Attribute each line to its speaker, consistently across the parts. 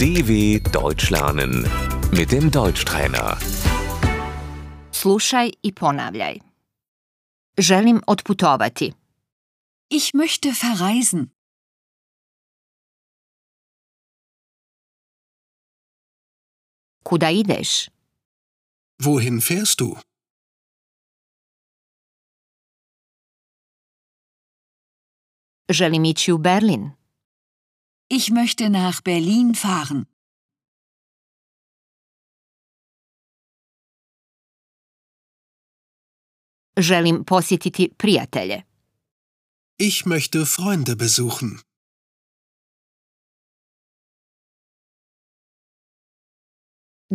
Speaker 1: DW Deutsch lernen mit dem Deutschtrainer.
Speaker 2: Slušaj i ponavljaj. Želim otputovati.
Speaker 3: Ich möchte verreisen.
Speaker 2: Kuda ideš?
Speaker 4: Wohin fährst du?
Speaker 2: Želim ići u Berlin.
Speaker 3: Ich möchte nach Berlin fahren.
Speaker 2: Želim posjetiti prijatelje.
Speaker 4: Ich möchte Freunde besuchen.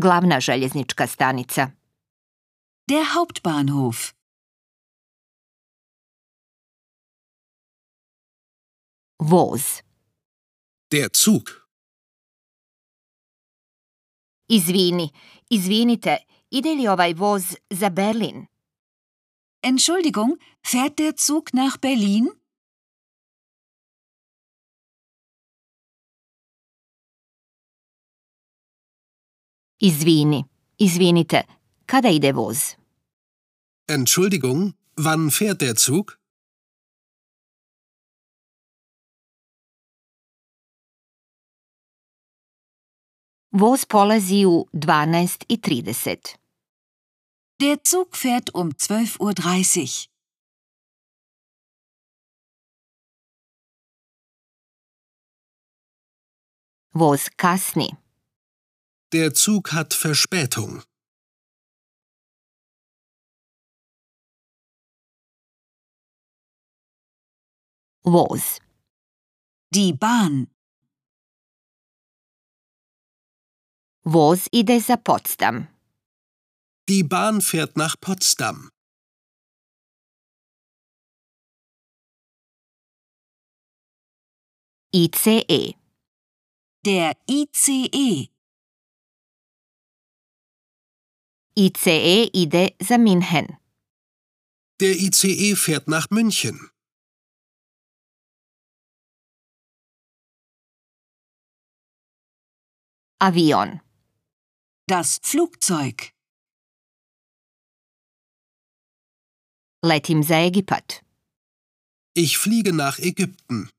Speaker 2: Glavna željeznička stanica.
Speaker 3: Der Hauptbahnhof.
Speaker 2: Voz.
Speaker 4: Der Zug.
Speaker 2: Izvini, izvinite, ide li ovaj voz za Berlin?
Speaker 3: Entschuldigung, fährt der Zug nach Berlin?
Speaker 2: Izvini, izvinite, kada ide voz?
Speaker 4: Entschuldigung, wann fährt der Zug?
Speaker 2: Voz polazi u 12.30.
Speaker 3: Der Zug fährt um 12.30 Uhr.
Speaker 2: Voz kasni.
Speaker 4: Der Zug hat Verspätung.
Speaker 2: Voz.
Speaker 3: Die Bahn.
Speaker 2: Voz ide za Potsdam.
Speaker 4: Die Bahn fährt nach Potsdam.
Speaker 2: ICE.
Speaker 3: Der E. ICE.
Speaker 2: ICE E ide za Minhen.
Speaker 4: Der ICE fährt nach München.
Speaker 2: Avion.
Speaker 3: Das Flugzeug.
Speaker 2: Letim za Egipat.
Speaker 4: Ich fliege nach Ägypten.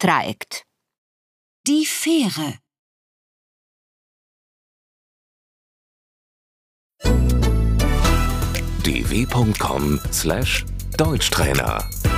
Speaker 2: Trajekt.
Speaker 3: Die Fähre.
Speaker 1: dw.com/deutschtrainer